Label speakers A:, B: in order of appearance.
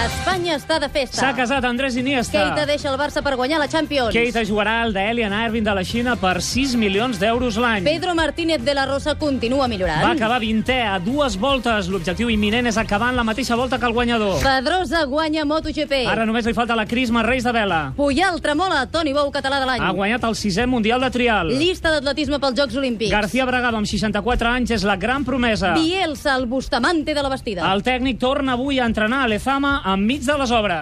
A: Espanya està de festa.
B: S'ha casat Andrés Iniesta.
A: Keita deixa el Barça per guanyar la Champions.
B: Keita jugarà al Dalian Irving de la Xina per 6 milions d'euros l'any.
A: Pedro Martínez de la Rosa continua millorant.
B: Va acabar 20 a dues voltes. L'objectiu imminent és acabar en la mateixa volta que el guanyador.
A: Pedrosa guanya MotoGP.
B: Ara només li falta la Crisma Reis de Vela.
A: Puyal tremola Toni Bou català de l'any.
B: Ha guanyat el sisè Mundial de Trial.
A: Llista d'atletisme pels Jocs Olímpics.
B: García Bragado, amb 64 anys, és la gran promesa.
A: Bielsa, el bustamante de la vestida.
B: El tècnic torna avui a entrenar a l'Ezama enmig de les obres.